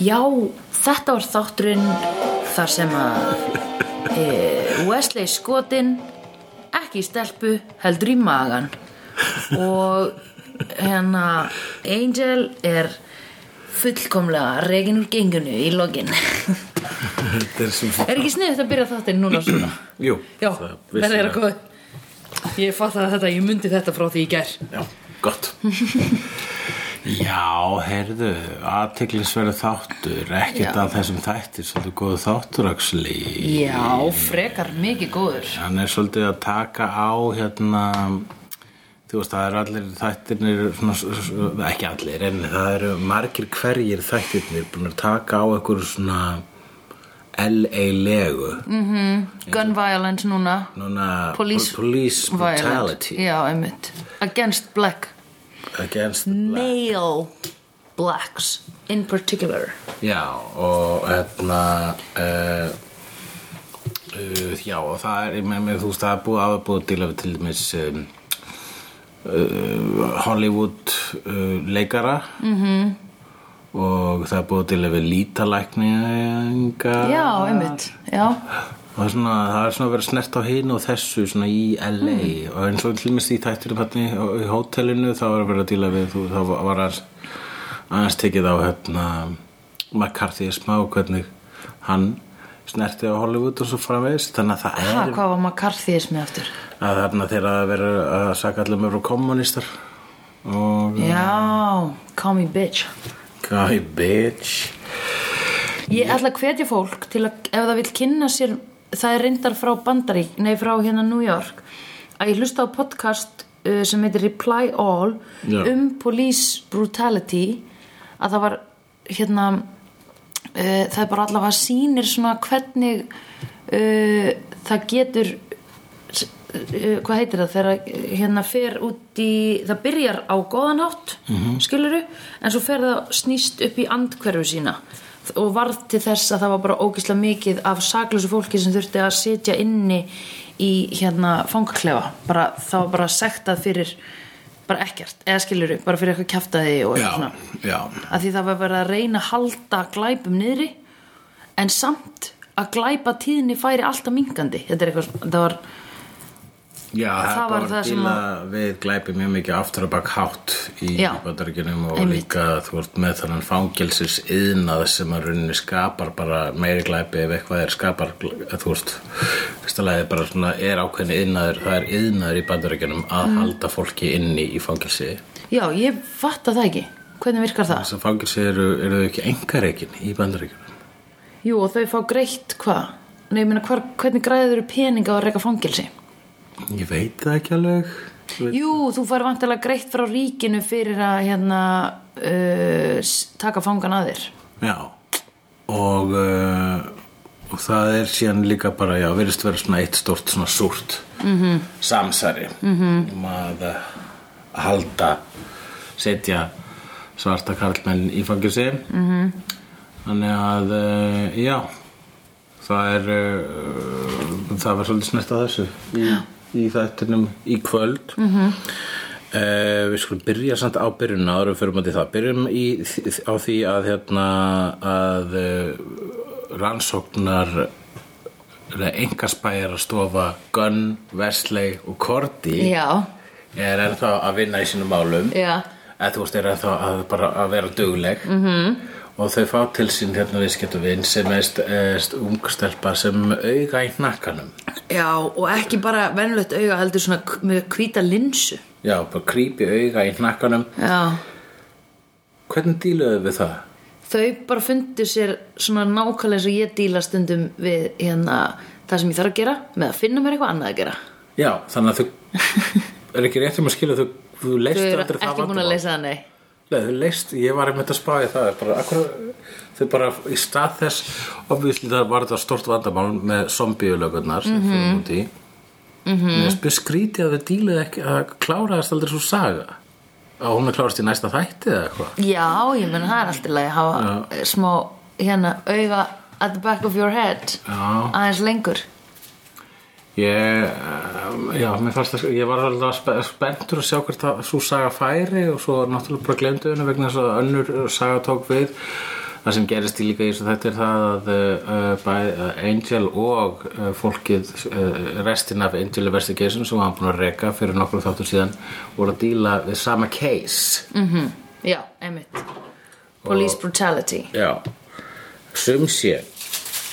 Já, þetta var þátturinn þar sem að e, Wesley skotinn ekki í stelpu heldur í magan og hérna Angel er fullkomlega reygin úr gengunu í lokin Þetta er sem Er ekki sniðið að byrja þáttinn núna svona? Jú, Já, það verðið er að vissulega. góð Ég fatt að þetta, ég myndi þetta frá því ég ger Já, gott Já, heyrðu, aðteglisverðu þáttur, ekkert Já. að þessum þættir, svolítið góðu þátturaksli. Já, frekar mikið góður Hann er svolítið að taka á, hérna, þú veist, það eru allir þættirnir, svona, s- s- ekki allir, en það eru margir hverjir þættirnir búin að taka á einhverju svona LA-legu. Gun violence núna Núna, Mm. Police- pol- police Violent brutality Já, einmitt Against black against Mm. Male blacks in particular Já, og hérna uh, uh, Já, og það er, ég með mér, þú veist, það er búið að búið að díla við til dæmis um, uh, Hollywood uh, leikara -hmm. og það er búið að díla við lítalækninga Já, einmitt Já, og svona, það er svona verið snert á hinn og þessu svona í LA Mm. og eins og til minnst í tætturum hérna í hótelinu þá var að vera að díla við þú, þá var aðeins, aðeins tekið á hérna McCarthy smá og hvernig hann snerti á Hollywood og svo framvegis þannig að það ha, er hvað var makarþýðismi aftur? að þarna þeirra að vera að saka allir með frá kommunistar og Já, call me bitch guy bitch Ég ætla að hvetja fólk til að ef það vil kynna sér það er reyndar frá Bandarík, nei frá hérna New York að ég hlusta á podcast uh, sem heitir Reply All Já. um police brutality að það var hérna uh, það er bara allavega sýnir svona hvernig uh, það getur uh, hvað heitir það þegar uh, hérna fer út í það byrjar á góðanátt mm -hmm. skiluru en svo fer það snýst upp í andhverfu sína og varð til þess að það var bara ógislega mikið af saklösu fólki sem þurfti að sitja inni í hérna fangaklefa bara, það var bara sektað fyrir bara ekkert, eða skiluru, bara fyrir eitthvað kjaftaði og eitthvað svona já að því það var verið að reyna að halda glæpum niðri en samt að glæpa tíðinni færi alltaf mingandi þetta er eitthvað, það var Já, það, Það það var var það að sem díla við glæpi mjög mikið aftur að bak hátt í Já. bandaríkjunum og Einmitt. líka þú ert með þannan fangelsis yðnað sem að rauninni skapar bara meiri glæpi ef eitthvað er skapar gl- að þú ert, fyrsta lagi bara svona er ákveðin yðnaður, það er yðnaður í bandaríkjunum að Mhm. halda fólki inni í fangelsi já, ég fatta það ekki hvernig virkar það? þess að fangelsi eru, eru þau ekki engareikin í bandaríkjunum Jú, og þau fá greitt hvað? Nei, ég meina, hvar, hvernig græður þau peninga að reyka fangelsi? ég veit það ekki alveg Ég veit- Jú, þú fær vantilega greitt frá ríkinu fyrir að hérna uh, s- taka fangan að þér Já og, uh, og það er síðan líka bara, já, verðist vera svona eitt stort svona súrt -hmm. samsari -hmm. um að uh, halda setja svarta karlmenn í fangilsi -hmm. þannig að uh, já það er uh, það var svolítið snert að þessu í, í þættinum í kvöld -hmm. Uh, við skulum byrja samt á byrjunna árum fyrir maður til það. Byrjum í, á því að, hérna, að uh, rannsóknar engaspæjar að stofa Gunn, Wesley og Cordy Já, er ennþá að vinna í sínum málum Já. eða þú veist er ennþá að, bara, að vera dugleg Mhm. -hmm. og þau fá til sín hérna viðskiptuvin sem er st- eh, st- ung stelpa sem auga í hnakkanum já, og ekki bara venlögt auga heldur svona k- með hvíta linsu já, bara krýpi auga í hnakkanum Já, hvernig díluðu við það? þau bara fundu sér svona nákvæmlega eins og ég díla stundum við hérna það sem ég þarf að gera með að finna mér eitthvað annað að gera Já, þannig að þú er ekki rétt um að skilja þú, þú þau leist eru aldrei það ekki búin að vandamál. leysa það nei Nei, þú leist, ég var einmitt að spáði það bara, akkur, þau bara í stað þess obvísli það var þetta stort vandamál með zombiulögurnar sem mm -hmm. út í mm -hmm. með skrítið að þau díluð ekki að kláraðast aldrei svo saga að hún er klárast í næsta þætti eða eitthvað já, ég menn það er alltaf leið að hafa smá hérna auga at the back of your head Já. aðeins lengur Ég, um, já, mér fannst það, ég var alveg spe, spenntur að sjá hvert að svo saga færi og svo náttúrulega bara glemdu henni vegna þess að önnur saga tók við það sem gerist í líka í þessu þetta er það að uh, bæ, uh, Angel og uh, fólkið uh, restin af Angel Investigation sem var búin að reka fyrir nokkur þáttur síðan voru að díla við sama case já, einmitt Police brutality Já Sum sé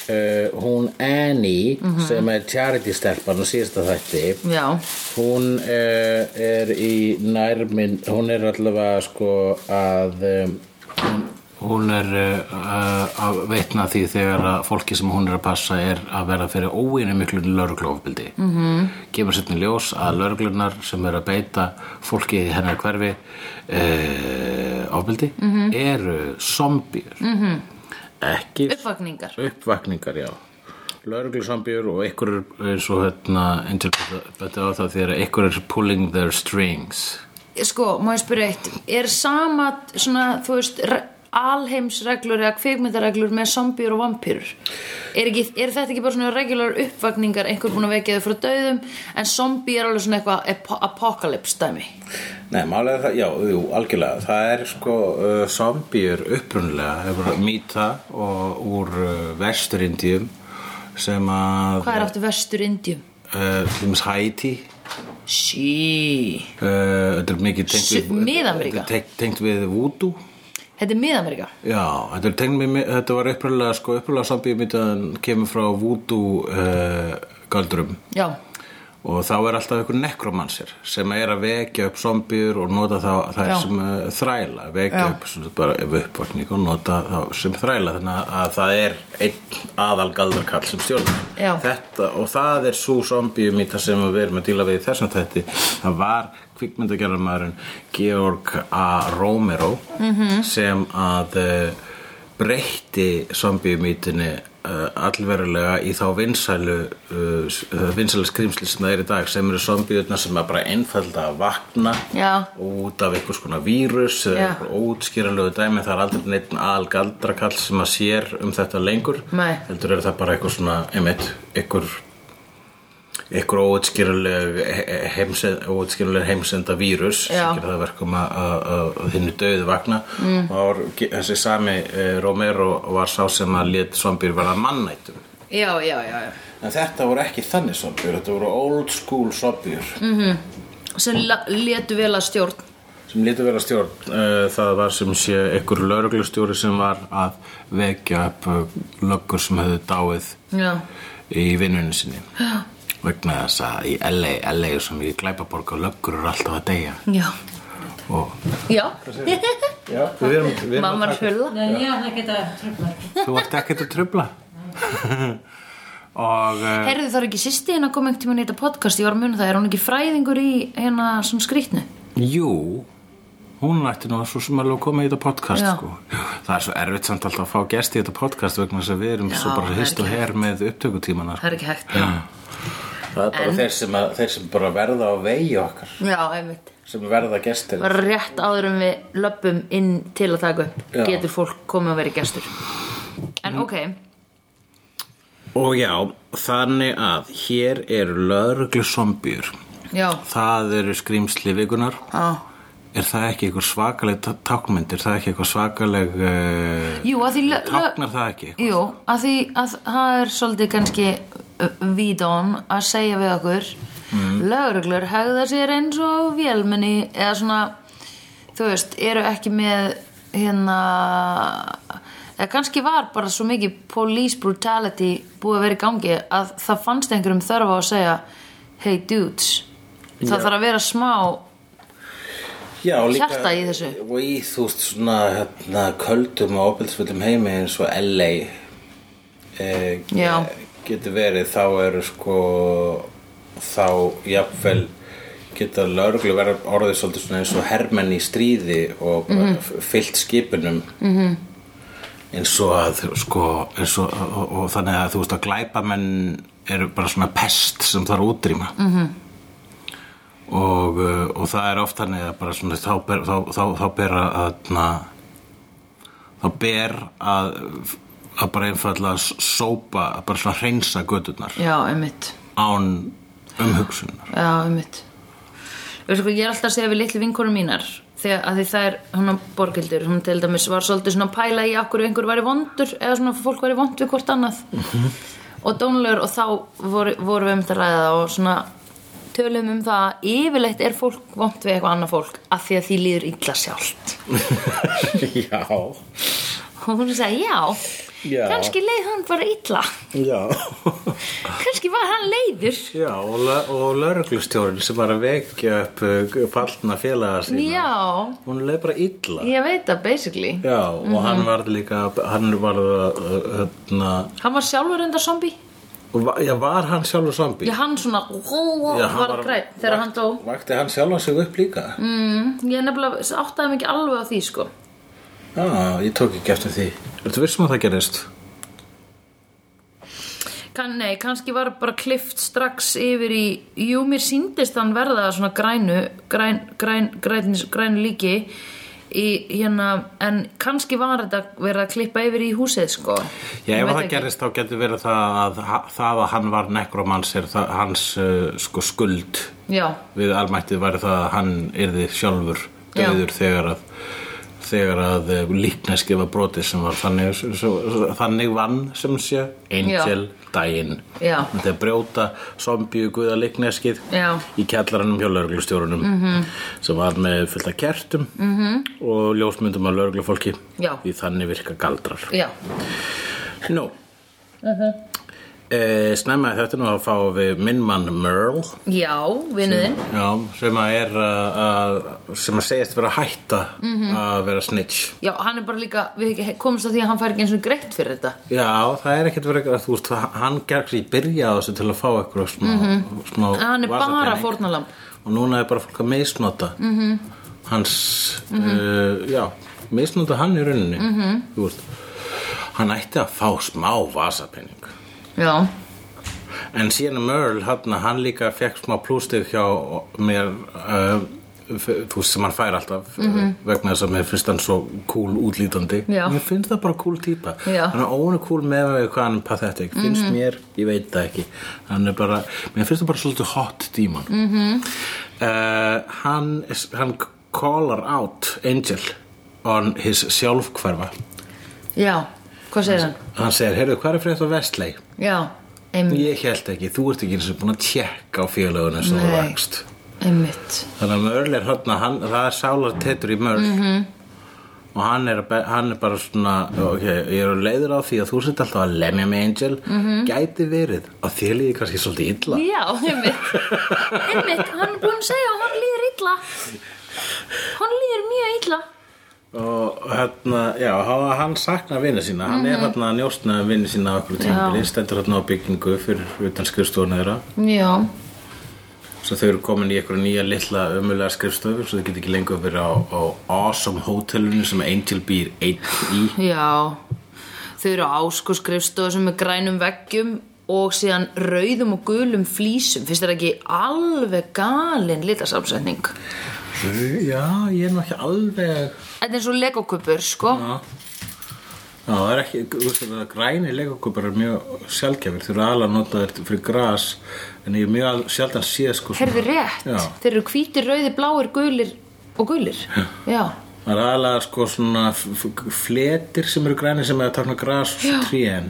uh, Hún Annie sem er charity stelpan og síðasta þætti Já, hún uh, er í nærminn hún er allavega sko að um, hún- hún er uh, að veitna því þegar að fólki sem hún er að passa er að vera fyrir óinu miklu lögreglófbildi mm -hmm. kemur setni ljós að lögreglunar sem er að beita fólki í hennar hverfi uh, ofbildi eru zombjur mm -hmm. ekki uppvakningar uppvakningar, já lauruglusambjur og ykkur er eins og hérna interpreta á það þegar ykkur er pulling their strings Sko, má ég spyrja eitt Er sama, svona, þú veist re- alheimsreglur eða kvikmyndareglur með zombjur og vampýrur er, ekki, er þetta ekki bara svona regular uppvakningar einhver búin að vekja þau frá dauðum en zombie er alveg svona eitthvað ap- apocalypse dæmi Nei, málega það, já, jú, algjörlega það er sko uh, zombjur upprunlega, hefur að mýta og úr uh, vesturindjum sem að Hvað er aftur vestur Indium? uh, til dæmis Haiti Sí uh, þetta er mikið tengt Shit, við Mið-Ameríka. þetta er tengt- tengt við voodoo Þetta er Mið-Ameríka Já, þetta, er tengd með- þetta var uppröðlega sko, uppröðlega sambíumyndaðan kemur frá voodoo uh, galdurum Já, og þá er alltaf einhver nekromansir sem er að vekja upp zombjur og nota þá það Já. sem uh, þræla vekja Já. upp svona, bara ef uppvakning og nota þá sem þræla þannig að það er einn aðal galdarkall sem Já. stjórnar þetta og það er svo zombjumýta sem við erum að díla við í þessum tætti það var kvikmyndagerðarmaðurinn Georg A. Romero -hmm. sem að uh, breytti zombjumýtinni uh, allverulega í þá vinsælu uh, s- uh, vinsælu skrimsli sem það er í dag sem eru zombjurnar sem er bara einfalda að vakna Já. út af einhvers konar vírus eða Já. einhver ótskýranlegu dæmi það er aldrei neitt al galdrakall sem að sér um þetta lengur Nei. heldur er það bara eitthvað svona einmitt, einhver einhver óutskýruleg heimsend, óutskýruleg heimsenda Já. vírus sem gerir það verkum að- að að- að hinnu döðu vakna mm. og var- þessi sami eh, Romero var sá sem að lét zombir verða mannættum já, já, já, já. en þetta voru ekki þannig zombir þetta voru old school zombir Sem la- létu vel að stjórn sem lítur vera stjórn uh, það var sem sé einhver lauruglustjóri sem var að vekja upp eh, löggur sem hefðu dáið Já, í vinnunni sinni vegna þess að í LA, LA er svo mikið glæpaborg og löggur eru alltaf að deyja já, og já Já, við erum, við erum Mamma er hulla Nei, ég ætla ekki að tröfla. þú ert ekkert að trubla og uh, Herðu þar ekki sýsti hérna kom einhvern tímann í þetta podcast, ég var að muna það, er hún ekki fræðingur í hérna svona skrýtnu? jú hún ætti nú svo sem alveg að koma í þetta podcast Já. sko. það er svo erfitt samt alltaf að fá gesti í þetta podcast vegna þess að við erum svo það bara er hist og ekki her með upptökutímana sko. Það er ekki hægt. það er bara þeir sem, að, þeir sem bara verða á vegi okkar Já, einmitt. sem verða gestir Var rétt áður en við löpum inn til að taka upp, Já. getur fólk komið að vera gestur. En ok, Og já, þannig að hér eru lögreglusombjur. já, Það eru skrýmsli vikunar. á. Er það ekki eitthvað svakaleg tá- táknmynd? Er það ekki eitthvað svakaleg... Uh, Jú, að því... lö- lö- táknar það ekki? Jú, að því að það er svolítið kannski vídón að segja við okkur mm. lögreglur hegða sér eins og vélmenni eða svona þú veist, eru ekki með hérna eða kannski var bara svo mikið police brutality búið að vera í gangi að það fannst einhverjum þörfa á að segja hey dudes það Já. þarf að vera smá Já, og líka... Hjarta í þessu. Og í þú veist svona hérna, köldum og opilsfullum heimi eins og LA eh, ge- Já. getur verið þá eru sko þá jafnvel geta lögreglu verið orðið svolítið svona eins og hermenn í stríði og mm Mhm. fyllt skipunum mm -hmm. eins og að sko eins og, og, og, og þannig að þú veist að glæpamenn eru bara svona pest sem þarf að útrýma Mhm. mm -hmm. og, uh, og það er oft þannig að bara svona þá ber, þá, þá, þá ber að, að þá ber að að bara einfallega s- sópa að bara svona hreinsa gödurnar já, einmitt án umhugsunar sko, Já, einmitt Veistu hvað, ég er alltaf að segja við litlu vinkonum mínar þegar að því það er hún á borgildur, hún til dæmis var svolítið svona að pæla í okkur einhver væri vondur eða svona fólk væri vond við hvort annað Mhm. og dónulegur og þá voru, voru við um þetta ræða og svona tölum um það að yfirleitt er fólk vond við eitthvað annað fólk af því að því líður illa sjálft já, og hún sagði já, Já. kannski leið hann bara illa já, kannski var hann leiður já og, lö- og lauruglustjórin sem var að vekja upp uh, fallna félaga sína. já, Hún leið bara illa. ég veit það basically Já, og hann varð líka, hann varð, uh, hérna, hann var sjálfur enda zombi og va- já, var hann sjálfur zombi? já, hann svona ó, ó, Já, hann var græn þegar hann dó Vakti hann sjálfan sig upp líka? Mm. Mm, ég nefnilega áttaði mig ekki alveg á því sko Já, ég tók ekki eftir því. Ertu vissum að það gerist? kan, Nei, kannski var bara klift strax yfir í Jú, mér síndist hann verða svona grænu græn, græn, græn, græn líki í, hérna, En kannski var þetta verið að klippa yfir í húsið sko Já, Ég ef veit það ekki. gerist þá getur verið það að ha- það að hann var nekromansir, það- hans uh, sko skuld Já, við almættið væri það að hann yrði sjálfur Já. döður þegar að þegar að líkneski var brotið sem var þannig, s- s- þannig vann sem sé, Angel daginn, Já. þetta er brjóta zombíu guða líkneskið Já. Mhm. í kjallaranum hjá lauruglustjórunum -hmm. sem var með fullt af kertum -hmm. og ljósmyndum af lauruglufólki Já. því þannig virka galdrar já, Mhm. Nú uh -huh. Snemma í þetta nú að fá við minn mann Merle já, vinuðinn Já, sem að er uh, að, að sem að segjast vera að hætta Mhm. að vera snitch Já, hann er bara líka, við komumst að því að hann fær ekki eins og greitt fyrir þetta Já, það er ekkert verið eitthvað þú veist, hann gerði í byrja á þessu til að fá eitthvað smá, smá En Mhm. hann er bara vasapening. fórnalamb og núna er bara fólk að misnota Mhm. -hmm. hans uh, já, misnota hann í rauninni Mhm. -hmm. þú veist hann ætti að fá smá vasapenning Já, En síðan Merle, hann, hann líka fekk smá plústig hjá mér uh, f- þú veist sem hann fær alltaf uh, vegna þess að mér finnst hann svo cool útlítandi Mhm. Já. mér finnst það bara cool típa Já. Mhm. hann er óinu cool með við hvað hann er pathetic finnst mér, ég veit það ekki hann er bara, mér finnst það bara svolítið hot díman mm Mhm. -hmm. hann, hann callar out Angel on his sjálfhverfa já, hvað segir hann? hann segir, heyrðu, hvað er frétt á Vestley? Já, einmitt, Ég held ekki, þú ert ekki eins og búin að tjekka á félaguna sem þú Nei. vakst einmitt. Þannig að Mörl er hann, hann það er sálar tettur í Mörl og hann er, að be- hann er bara svona ok, ég er leiður á því að þú sett alltaf að lemja með Angel gæti verið og þér líði kannski svolítið illa Já, einmitt. einmitt, hann er búinn að segja að hann líður illa. Hann líður mjög illa. og hérna, já, hann- hann saknar vinnu sína, hann er hérna að njóstna vinnu sína á okkur tímabili, stendur hérna á byggingu fyrir utan skrifstofuna þeirra Já, svo þau eru komin í eitthvað nýja litla ömulega skrifstofu svo þau geta ekki lengur verið á, á awesome hótelunum sem Angel býr einn í já. Þau eru á sko skrifstofu sem er grænum veggjum og síðan rauðum og gulum flísum. Finnst þér ekki alveg galin litasafsetning? já, ég er nú ekki alveg Þetta er eins og legokupur, sko. já, það er ekki, þú veist það græni legokupar er mjög sjálfgefir þau eru alveg að nota þér fyrir gras en ég er mjög al- sjaldan séð sko svona- Herðu rétt. já, Þeir eru hvítir, rauðir, bláir, gulir og gulir. Já. það er alveg sko svona f- f- fletir sem eru græni sem er að takna gras og tríen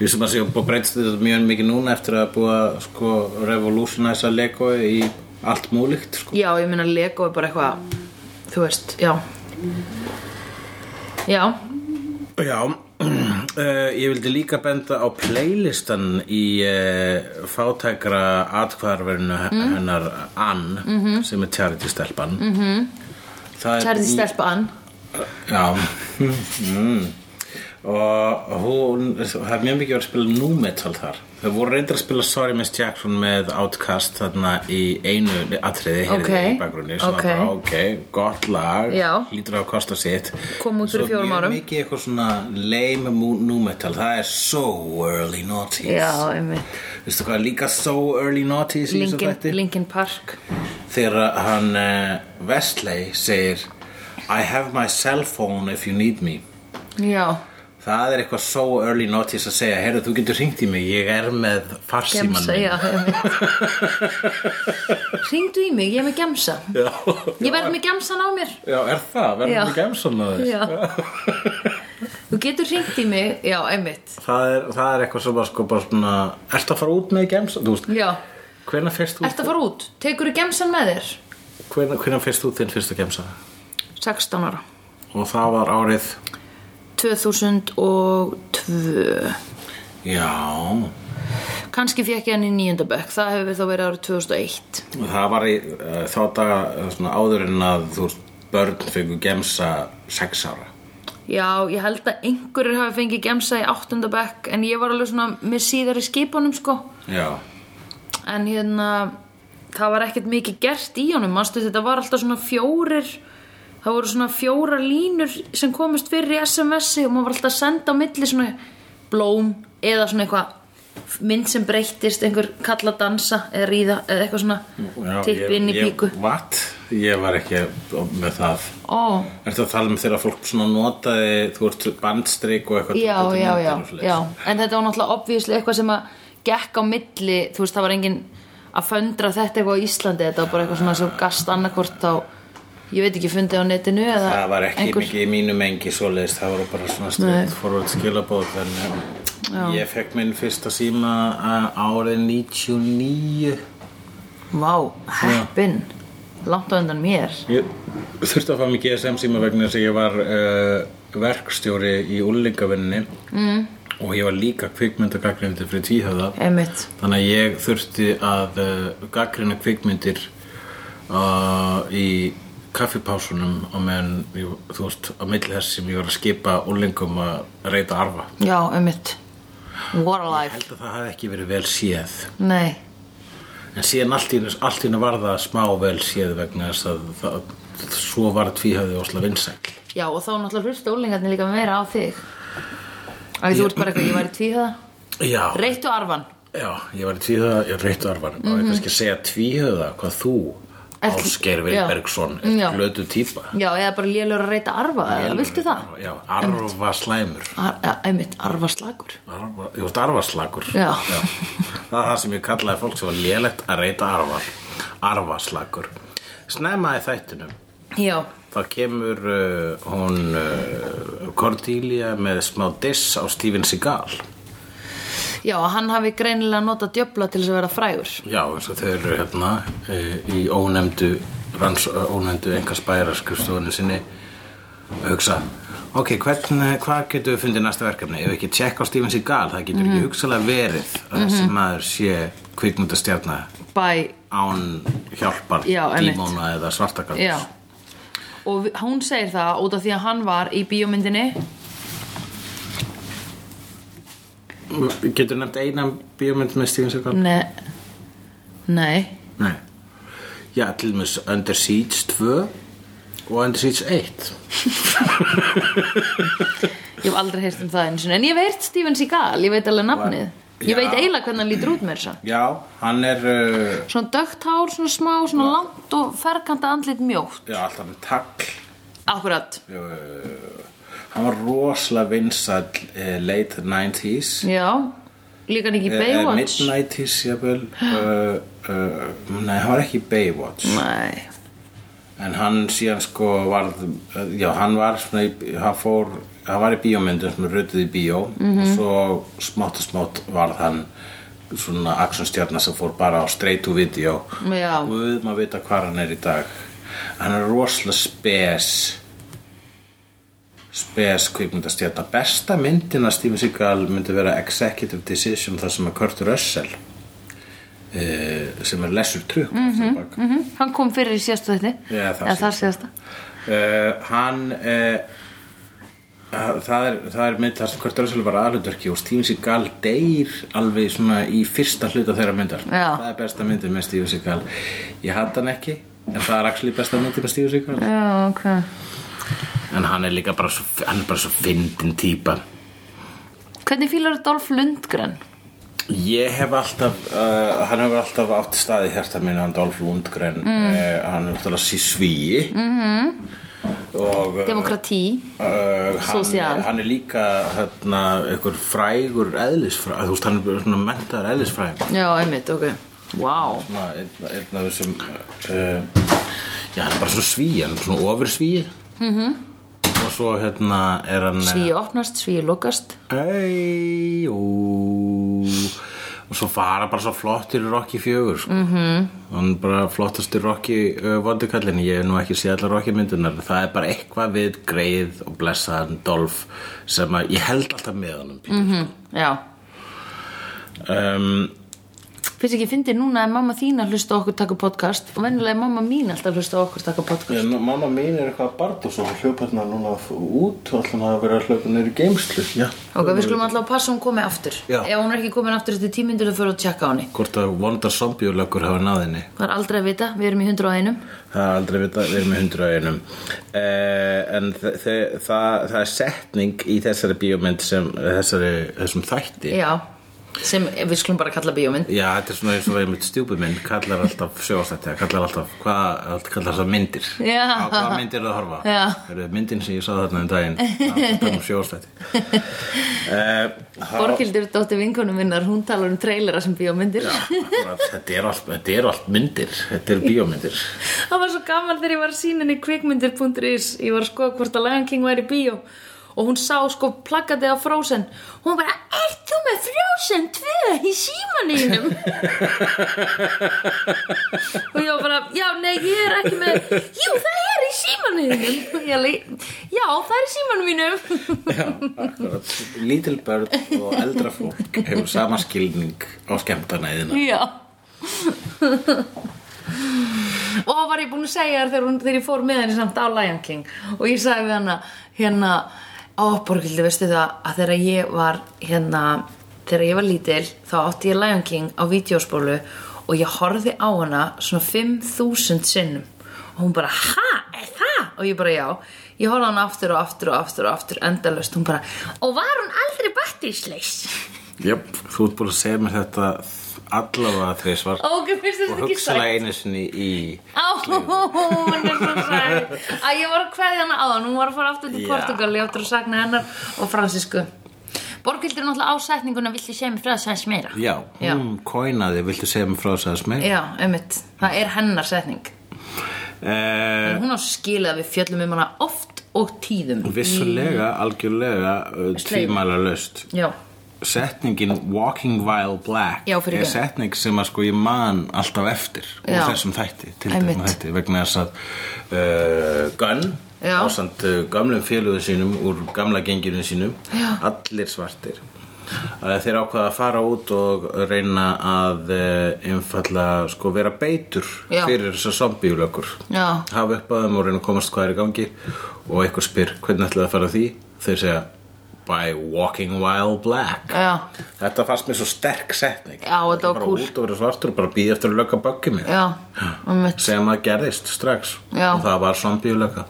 Ég sem að sé að breytst þetta mjög mikið núna eftir að búa sko revolutionæsa Lego í allt múlíkt sko. Já, ég meina Lego er bara eitthvað Þú veist, já Já, Já, uh, ég vildi líka benda á playlistan í uh, fátækra atkvarverinu hennar Ann sem er Charity Stelpan mm -hmm. Það er tærði stelpa ann Já mm. Og hún, það er mjög mikið að spila nu metal þar Þau voru reyndar að spila Sorry Miss Jackson með Outcast þarna í einu atriði heyrði Ok, í bakgrunni sem ok. var bara ok, gott lag Já. hlýtur á að kosta sitt Kom út fyrir Svo fjórum mjög árum. Mikið eitthvað svona lame mu- nu metal það er so early noughties Já, einmitt Veistu hvað er líka so early noughties í þessu Linkin, þætti? Linkin Park þegar hann uh, Vestley segir I have my cell phone if you need me Já, Það er eitthvað so early notice að segja Herðu, þú getur hringt í mig, ég er með farsíman Gemsa, já Ringdu í mig, ég er með gemsa Já, Ég verð með gemsan á mér já, er það? Já. Verður þú gemsan að þess? Já Þú getur hringt í mig, já, einmitt Það er, það er eitthvað sem bara sko bara svona Ertu að fara út með gemsan? Þú veist, Já, hvenær fyrst þú ert að fara út Tekur þú gemsan með þér? hvenær, hvenær fyrst þú þinn fyrsta gemsa? 16 ára Og það var árið 2002 Já, Kanski fekk ég hann í nýjunda bekk Það hefur þá verið árið 2001 Og Það var í uh, þá daga eh, svona áður en að þú veist, börn fengu gemsa sex ára. Já, ég held að einhverjir hafi fengið gemsa í áttunda bekk en ég var alveg svona með síðar í skipunum sko Já, en hérna það var ekkert mikið gert í honum manstu þetta var alltaf svona fjórir það voru svona fjórar línur sem komist fyrir í SMS-i og maður var alltaf að senda á milli svona blóm eða svona eitthvað mynd sem breyttist einhver kalla dansa eða ríða eða eitthvað svona Já tipp inn í píku Ég, what? Ég var ekki með það. ó, Ertu að tala um þegar fólk svona notaði, þú veist, bandstrik og eitthvað. já, þetta já, myndir já, og svoleiðis. já en þetta var náttúrulega obvíslega eitthvað sem að gekk á milli, þú veist það var engin að föndra þetta eitthvað á Íslandi þetta var bara eitthvað svona sem gast annarkvort á ég veit ekki fundið á netinu eða Það var ekki einhver- mikið í mínu mengi svoleiðist, það voru bara svona straight forward skilabóð, en um, ég fekk minn fyrsta síma eh, árið 99. Vá, heppin Langt á undan mér Ég þurfti að fá mig GSM síma vegna þess að ég var uh, verkstjóri í úlingavinninni mm. og ég var líka kvikmyndagagrindi fyrir tíhöfða Einmitt þannig að ég þurfti að uh, gaggrina kvikmyndir uh, í kaffipásunum og meðan ég, þú veist á milli þess sem ég var að skipa úlingum að reyta arfa Já, einmitt What a Ég life held að það hafi ekki verið vel séð Nei, En síðan allt í einu- allt í hennu var það smá vel séð vegna þess að það, svo var tvíhöfði ósla vinsæll já og þá náttúrulega hlusta úlingarnir líka meira á þig Að þú ert bara eitthvað, ég væri tvíhöða Já, Reittu arfan Já, ég var í tvíhöða, ég var reitt arfan og ég kannski að segja tvíhöða hvað þú Ert- Ásgeir Mhm. já. Vilbergsson Já. er blötu típa Já, eða bara lélur að reyta arfa eða, Viltu það? Já, arfa slæmur Ar, ja, einmitt, arfa slagur arfa, Ég varst arfaslagur Já. Það er það sem ég kallaði fólk sem var lélegt að reyta arfar Arfaslagur Snemma í þættinum Já, þá kemur uh, hún uh, Cordelia með smá diss á Steven Seagal já, að hann hafi greinilega notað djöfla til þess að vera frægur Já, eins og þau eru hérna eh, í ónefndu, ranns, ónefndu enga spæra skrifstofunni sinni að hugsa ok, hvern, hvað getur við fundið næsta verkefni ef ekki tjekk á Steven Seagal það getur Mhm. ekki hugsalega verið að þessi maður sé kvikmyndastjarna Bæ, án hjálpar Já, einmitt. dímona eða svartakall já Og vi- hún segir það út af því að hann var í bíómyndinni getur nefnt eina bíómynd með Steven Seagal? Nei Nei Nei Já, til dæmis Under Siege 2 og Under Siege 1 Ég hef aldrei heyrt um það eins og en ég hef heyrt Steven Seagal, ég veit alveg nafnið Ég Já. veit eiginlega hvernig hann lítur út með þess að Já, hann er uh, Svona dögt hár, svona smá, svona langt og ferkanta andlit mjótt já, alltaf með tagl Akkurat, Uh, hann var rosalega vinsall uh, late 90s já Líka hann ekki í Eh, eh, Baywatch mid-90s jafnvel uh, uh, nei, hann var ekki í Baywatch Nei, en hann síðan sko varð eh, já, hann var svona í, hann fór, hann var í bíómyndum sem rötuð í bíó og svo smátt og smátt varð hann svona aksjónstjarna sem fór bara á straight to video Já. Guð, maður vita hvað hann er í dag hann er rosalega spes spes kvikmyndastjarna besta myndin að Steven Seagal myndi vera Executive Decision þar sem að Kurt Russell eh, sem er lesur trukk mm -hmm. mhm, hann kom fyrir í síðastu þetta Já, það þar síðasta uh, hann uh, það, er, það er mynd þar sem Kurt Russell var aðlutverki og Steven Seagal deyr alveg svona í fyrsta hluta þeirra myndar Já. það er besta myndin með Steven Seagal ég hatt hann ekki en það er axli besta myndin með Steven Seagal Já, ok en hann er líka bara svo, hann er bara svo fyndin típa Hvernig fílar Dolph Lundgren? Ég hef alltaf, uh, hann hefur alltaf Eh, átt stað í hjarta mínu, hann Dolph Lundgren, mm. hann er alltaf síð svíi mm -hmm. og eh, demokratí Uh, Sósíal. hann, hann er líka hérna, einhver frægur eðlisfræð þú veist, hann er svona mentaður eðlisfræð já, einmitt, ok wow. svona einn einn af þessum uh, já, hann er bara svona svíi hann er svona ofur svíi -hmm. og svo hérna er hann svíi opnast, svíi lokast Hey, ó. og svo fara bara svo flottir Rocky 4 sko. mm Mhm. -hmm. hann er bara flottastir Rocky uh, vondukallin, ég hef nú ekki séð allar Rocky myndunar það er bara eitthvað við greið og blessaðan Dolph sem að ég held alltaf með honum mm Mhm. -hmm. já, um, finnst ekki fyndi núna að mamma þín að hlusta á okkur taka podcast og venjulega er mamma mín alltaf að hlusta á okkur taka podcast en mamma mín er eitthvað að barða og svo hljóparna núna út og alltaf að vera að hljópa neyri geimslu já. ok, við skulum alltaf passa að hún komi aftur Já. ef hún er ekki komin aftur eftir tímyndur þá fyrir að tjekka á henni hvort að vondar zombjulökkur hafa náðinni það er aldrei að vita, við erum í 101 Það er aldrei vita, við erum með hundra einum eh, En þe- þe- það, það er setning í þessari bíómynd sem þessari, þessum þætti já, sem við skulum bara kalla bíómynd Já, þetta er svona eins og við mitt stjúpumynd kallar alltaf sjóastætti, kallar alltaf hvað, allt kallar það myndir Já. Á hvaða myndir eru að horfa? Já. Eru myndin sem ég sá þarna um daginn Það er sjóastætti eh, Borghildur, dóttir vinkunum minnar, hún talar um trailera sem bíómyndir Já, akkurat, þetta eru allt, þetta eru allt myndir Þetta eru bíómyndir Það var svo gaman þegar ég var að sína henni kvikmyndir.is Ég var að skoða hvort að Lion King væri í bíó Og hún sá sko plakkaði á Frozen Hún bara, ert þú með Frozen 2 í símaninum? og ég var bara, já, nei, ég er ekki með Jú, það er í símaninum Ég alveg, já, það er í símanum mínum Akkurat. Lítil börn og eldra fólk hefur sama skilning á skemmtanæðina Já Og var ég búin að segja þér þegar, hún, þegar ég fór með henni samt á Lion King og ég sagði við hana hérna á Borgildi, veistu það að þegar ég var hérna þegar ég var lítil þá átti ég Lion King á vídeospólu og ég horfði á hana svona 5.000 sinnum og hún bara, ha, er það? og ég bara, já, ég horfði á hana aftur og aftur og aftur og aftur endalaust, hún bara og var hún aldrei batteríslaus? Jöp, þú ert búin að segja mér þetta allavega þreisvar ok, finnst og þetta ekki sætt? hugsalega einu sinni í Á, hún er svo sæt að ég var að kveðja hana áðan hún var að fara aftur til Já. Portugal ég áttur að sakna hennar og fransisku Borghildur er náttúrulega ásætninguna viltu segja mér frá þess aðeins meira Já, Já. hún kóinaði, viltu segja mér frá þess aðeins meir? já, einmitt, það er hennar setning Eh, hún á skilið að við fjöllum um hana oft og tíðum vissulega, algjörlega, uh, Slegin. tvímæla löst já, Setningin Walking While Black Já, fyrir er ekki. setning sem að sko ég man alltaf eftir úr Já. þessum þætti, til Einmitt. dæma þætti vegna þess að uh, Gunn Já. ásand uh, gamlum félöðu sínum úr gamla genginu sínum Já. allir svartir að þeir ákvaða að fara út og reyna að uh, einfalla sko vera beitur Já. fyrir þessar zombiulökur já, hafa upp að þeim og reyna að komast hvað er í gangi og einhver spyr hvernig ætlaði að fara að því þeir segja by walking while black já þetta fannst mér svo sterk setning Já, þetta var bara kúl. út og verið svartur og bara býði eftir að lögga böggi mig já, einmitt sem að gerðist strax Já. og það var zombíulögga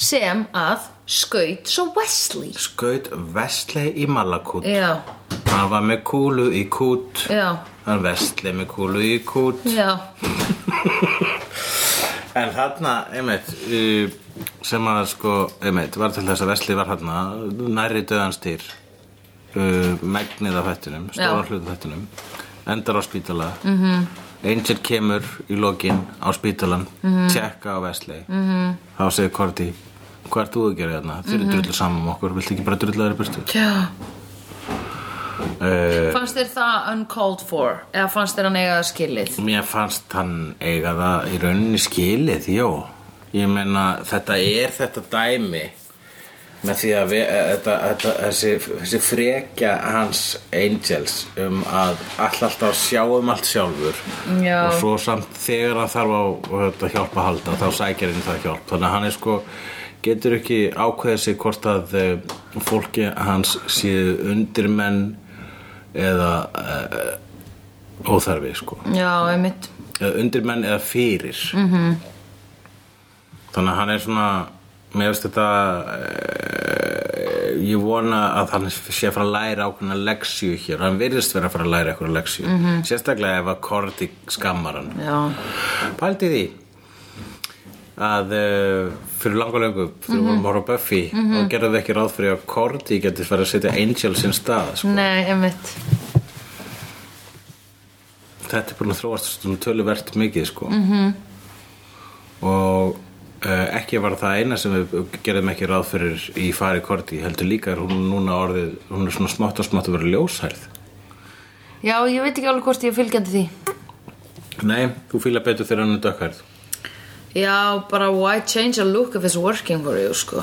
sem að skaut svo Wesley skaut vestlei í malakút já, hann var með kúlu í kút já, hann vestlei með kúlu í kút já En þarna, einmitt, uh, sem að sko, einmitt, var til þess að Vesli var þarna, nærri döðanstýr, uh, megnið af hættunum, stóra Já. hlutu hættunum, endar á spítala, mm -hmm. Angel kemur í lokin á spítalan, tjekka á Vesli, mm -hmm. þá segir Korti, hvað ert þú að gera þarna? Þið eru drullu saman um okkur, viltu ekki bara drulla þér í burtu? já Uh, Fannst þér það uncalled for? Eða fannst þér hann eiga það skilið? Mér fannst hann eiga það í rauninni skilið, jú. Ég meina, þetta er þetta dæmi með því að við, þetta, þetta, þessi, þessi frekja hans angels um að all alltaf að sjá um allt sjálfur Já. og svo samt þegar hann þarf á þetta hjálp að halda þá sækir hann það hjálp þannig að hann er sko getur ekki ákveðið sig hvort að eh, fólki hans séu undirmenn eða uh, óþarfi sko Já, einmitt. eða undir menn eða fyrir -hmm. þannig að hann er svona mér veist þetta eh, ég vona að hann sé að fara að læra ákveðna leksju hér hann virðist vera að fara að læra eitthvað leksju -hmm. sérstaklega ef að Korti skammar hann Já, pældi því að uh, fyrir langalegu fyrir mm -hmm. vorum að horfa á Buffy mm -hmm. og gerðum við ekki ráð fyrir að Cordy geti farið að setja Angel sinn stað sko. Nei, einmitt þetta er búin að þróast svona töluvert mikið sko. -hmm. og uh, ekki var það eina sem við gerðum ekki ráð fyrir í fari Cordy heldur líka er hún núna orðið hún er svona smátt og smátt að vera ljóshærð Já, ég veit ekki alveg hvort ég er fylgjandi því nei, þú fýla betur þegar hann er dökkhærð Já, bara why change a look if it's working for you, sko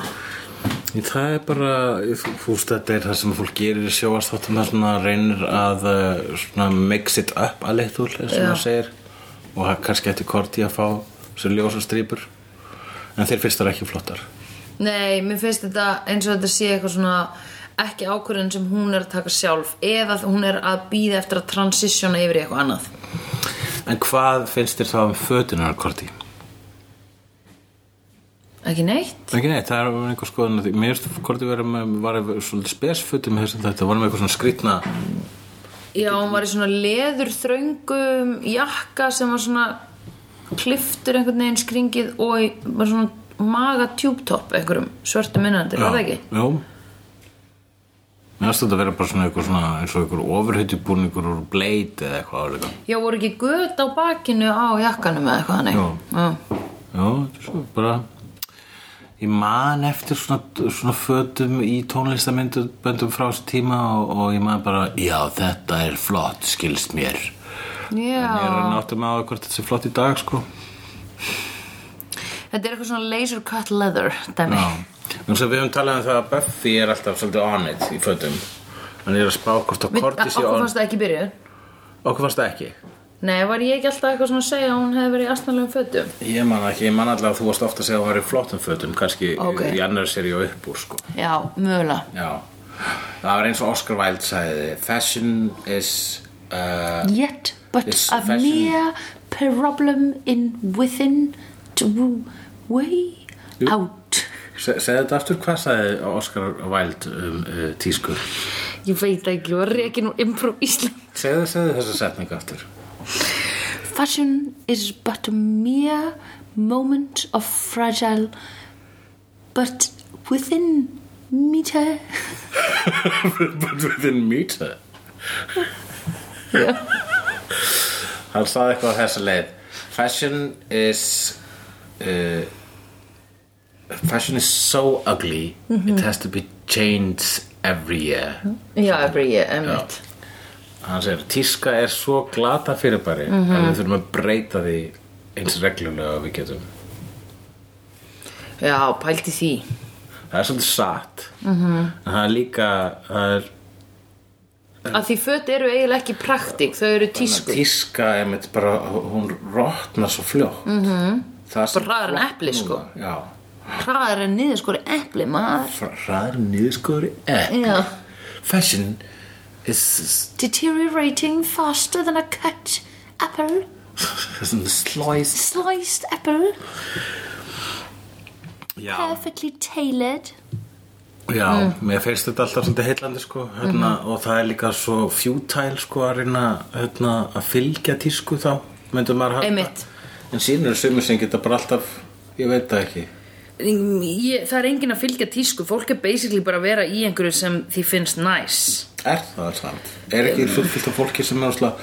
Í Það er bara, þú fúst þetta er það sem fólk gerir í sjóastáttum það svona reynir að uh, svona mix it up a little eins og það segir og það kannski eftir korti að fá sem ljósa strýpur en þeir finnst það ekki flottar Nei, mér finnst þetta eins og þetta sé eitthvað svona ekki ákvörðin sem hún er að taka sjálf eða hún er að býða eftir að transitiona yfir í eitthvað annað En hvað finnst þér þá um fötunar korti? Ekki neitt? Ekki neitt, það er einhver skoðan að því mér finnst korti verið með, var svolítið spesfutum með þessum þetta, var með eitthvað svona skrýtna Já, hún var í svona leður þröngum jakka sem var svona kliftur einhvern veginn skringið og í, var svona maga tjúptopp einhverjum svörtum innandir, var það ekki? Jú Mér finnst þetta að vera bara svona eitthvað svona eins og einhver ofurhutjubúningur úr bleit eða eitthvað áleika Já, voru ekki göt á bakinu á jakkanum eða eitthvað þannig? Jú. Já, þetta er svo bara ég man eftir svona, svona fötum í tónlistaminduböndum frá þessu tíma og, og ég man bara já þetta er flott skilst mér Já. en ég er að náttu með á hvort þetta er flott í dag sko Þetta er eitthvað svona laser cut leather, dæmi. já en svo við höfum talað um það að Buffy er alltaf svolítið on it í fötum hann er að spá hvort að Við- Korti sé Okkur on fannst það ekki byrjuð. okkur fannst það ekki Nei, var ég ekki alltaf eitthvað svona að segja að hún hefði verið í astnalegum fötum? ég man ekki, ég man alltaf að þú varst ofta að segja að hún var í flottum fötum kannski Ok. í annar seri og upp úr sko Já, mögulega. já það var eins og Oscar Wilde sagði fashion is uh, Yet, but It's a fashion. mere problem in within to way out. Se- Segðu þetta aftur, hvað sagði Oscar Wilde um uh, tísku? Ég veit ekki, var reikin úr improv Ísland. Segðu, segðu þessa setningu aftur. Fashion is but a mere moment of fragile, but within meter. But within meter. Hann sagði eitthvað á þessa leið. Fashion is... Uh, fashion is so ugly, it has to be changed every year. Já, every year, einmitt. Hann segir, tíska er svo glata fyrirbæri að við þurfum að breyta því eins reglulega og við getum. Já, pælti því. það er svolítið satt -hmm. en það er líka það er Að því föt eru eiginlega ekki praktík, þau eru tísku. tíska einmitt bara, hún rotnar svo fljótt mm -hmm. það sem Mhm. Bara hraðar en rotnar- epli, sko. já, hraðar en niður skori epli maður hraðar niðurskóður epli Já. fashion is deteriorating faster than a cut apple slice sliced apple já, perfectly tailored já Mm. mér finnst þetta alltaf svolítið heillandi sko, hérna, Mhm. og það er líka svo futile sko, að reyna hérna, að fylgja tísku þá myndum maður halda Einmitt. en síðan eru sumir sem geta bara alltaf ég veit það ekki ég, það er enginn að fylgja tísku fólk er basically bara að vera í einhverju sem því finnst næs Er það samt? Er ekki fullfyllt af fólki sem er óslega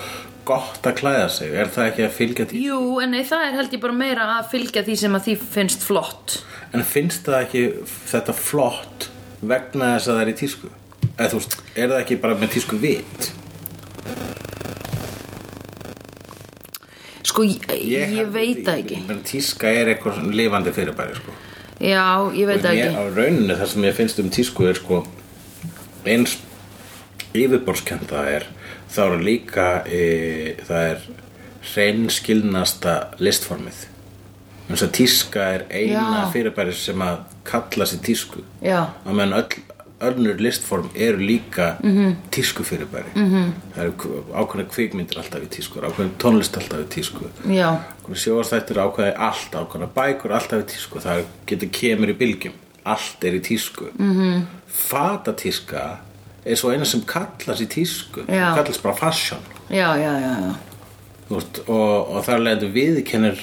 gott að klæða sig? Er það ekki að fylgja því? jú en nei, það er held ég bara meira að fylgja því sem að því finnst flott En finnst það ekki þetta flott vegna þess að það er í tísku? Eða þú veist, er það ekki bara með tísku vit? sko ég, ég, veit það ekki Men tíska er eitthvað svona lifandi fyrirbæri, sko. já Sko, ég veit það Mér, ekki Sko, á rauninu það sem ég finnst um tísku er sko eins yfirborskenda er þá eru líka e, það er hreinskilnasta listformið eins og tíska er eina Já. fyrirbæri sem að kalla sér tísku Já. að menn öll önnur listform eru líka Mhm. tísku fyrirbæri -hmm. það eru ákveðna kvikmyndir alltaf í tísku ákveðna tónlist alltaf í tísku já Ákveðna sjóastættir ákveði allt, ákveðna bækur, alltaf í tísku. Það getur kemur í bylgjum. Allt er í tísku. Mm -hmm. Fatatíska er svo eina sem kallast í tísku. Já. Hún Kallast bara fashion. já já já já Þú Veist, og, og þar leðum viðkennir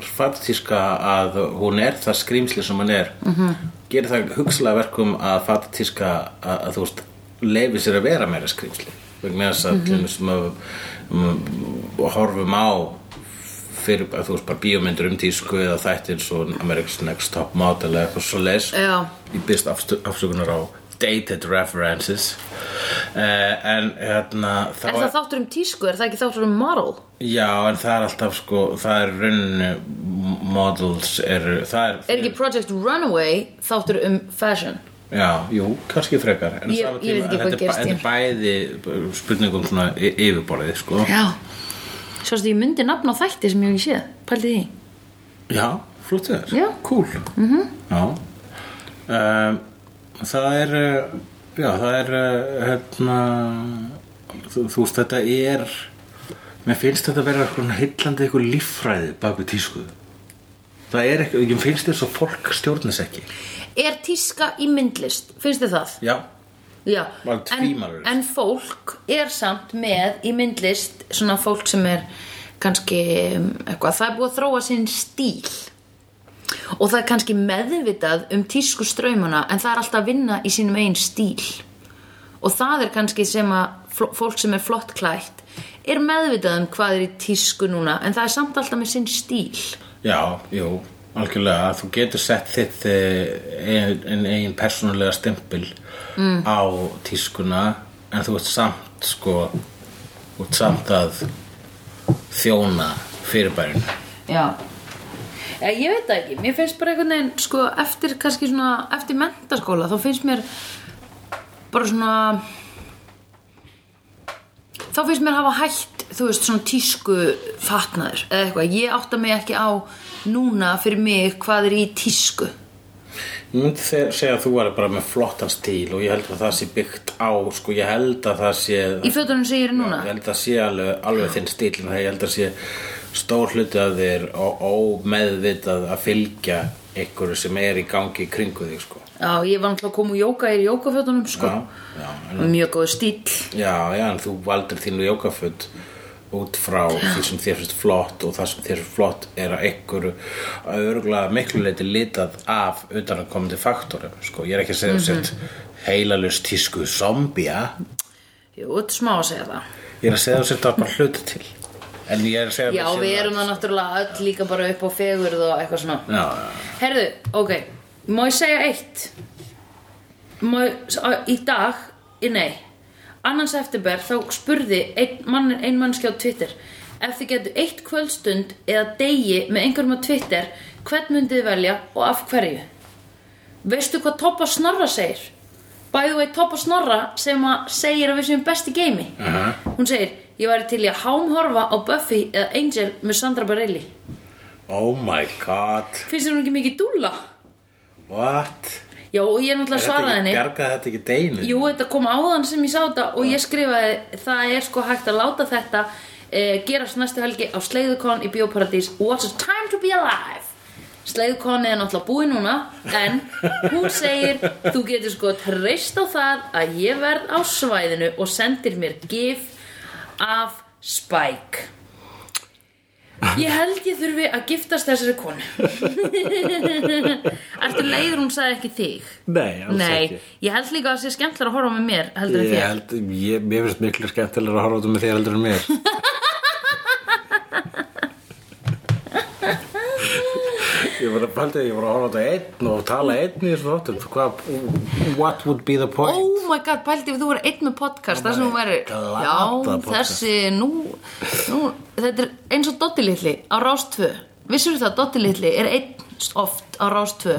fatatíska að hún er það skrýmsli sem hún er -hmm. Mhm. gerir það hugslega verkum að fatatíska að, að þú veist leifi sér að vera meira skrýmsli vegna þess að Mhm. mm -hmm. um, horfum á fyrir bara, þú veist, bara bíómyndur um tísku eða þættir svo America's Next Top Model eða eitthvað svo leis Já. ég byrst afsökunar á dated references uh, en hérna þá Er það þáttur um tísku, er það ekki þáttur um model? Já, en það er alltaf sko, það er rauninu models eru, það er, Er ekki Project Runaway þáttur um fashion? já, jú, kannski frekar en á Ég- sama ég veit ekki tíma- hvað gerist þetta, er ba- þetta er bæði spurningum svona y- yfirborðið, sko Já Svo að ég myndi nafn á þætti sem ég hef ekki séð Pældi því Já, flott þér, Já. Mhm. cool mm -hmm. Já um, Það er uh, já, það er uh, hérna þú, þú veist, þetta er mér finnst þetta að vera eitthvað heillandi eitthvað líffræði bak við tískuðu Það er eitthvað, ég finnst þér svo fólk stjórnis ekki Er tíska í myndlist? Finnst þið það? Já, Já Bara en, tvímælalaust. en fólk er samt með í myndlist Svona fólk sem er kannski um, eitthvað Það er búið að þróa sinn stíl Og það er kannski meðvitað um tísku ströymuna En það er alltaf að vinna í sínum einn stíl Og það er kannski sem að fl- fólk sem er flott klætt Er meðvitað um hvað er í tísku núna En það er samt alltaf með sinn stíl Já, jú, algjörlega þú getur sett þitt einn ein persónulega stempil mm. á tískuna en þú ert samt sko þú ert samt að þjóna fyrirbærin Já Já, Eh, ég veit það ekki, mér finnst bara einhvern veginn sko, eftir kannski svona, eftir mentaskóla þá finnst mér bara svona þá finnst mér hafa hætt þú veist, svona tísku fatnaður eða eitthvað, ég átta mig ekki á núna fyrir mig hvað er í tísku Ég myndi þe- segja að þú væri bara með flottan stíl og ég held að það sé byggt á sko, ég held að það sé í fötunum sem ég er í núna Ég held að sé alveg, alveg þinn stíl en ég held að sé stór hluti að þér og ómeðvitað að fylgja einhverju sem er í gangi í kringu þig sko. Já, ég var náttúrulega að koma úr jóka, ég er í jókafötunum sko, Já, já, en- mjög góð stíl já, já, en þú valdir þínu jókaföld út frá því sem þér finnst flott og það sem þér finnst flott er að einhverju að örgulega miklu leiti litað af utan að komandi faktorum sko. ég er ekki að segja mm Mhm. -hmm. sett heilalust tísku zombia Jú, þetta er smá að segja það ég er að segja sett að bara hluta til en ég er að segja Já, að- við erum það náttúrulega öll líka bara upp á fegurð og eitthvað svona já, já, já Herðu, ok, má ég segja eitt? Má ég, s- á- í dag, í nei, annars eftirber þá spurði ein, mann, ein mannski á Twitter Ef þið getur eitt kvöldstund eða degi með einhverjum á Twitter, hvern myndið þið velja og af hverju? Veistu hvað Toppa Snorra segir? Bæðu veit Toppa Snorra sem að segir að við séum best í geimi Hún segir, ég væri til í að hámhorfa á Buffy eða Angel með Sandra Barelli Oh my god, Finnst þér hún ekki mikið dúlla? what? Já, og ég er Er náttúrulega þetta svaraði ekki- henni Bjargaði þetta ekki deinu? Jú, þetta kom áðan sem ég sá þetta og ég skrifaði það er sko hægt að láta þetta eh, gerast næstu helgi á Sleiðukon í Bíóparadís What a time to be alive Sleiðukon er náttúrulega búið núna en hún segir þú getur sko treyst á það að ég verð á svæðinu og sendir mér gif af Spike Ég held ég þurfi að giftast þessari konu Ertu leiður hún sagði ekki þig? Nei, alls Nei, ekki. ég held líka að það sé skemmtilega að horfa með mér heldur en Ég þér held, ég, mér finnst miklu skemmtilega að horfa út með þér heldur en mér. Ég var að pælta, ég var að horfa á þetta einn og tala einn í þessu þáttum. Hvað, what would be the point? Oh my god, pældi ef þú verið einn með podcast þar sem þú verið glata Já, podcast. þessi, nú, nú Þetta er eins og Dotti litli á Rástvö Vissur það, Dotti litli er einn oft á Rástvö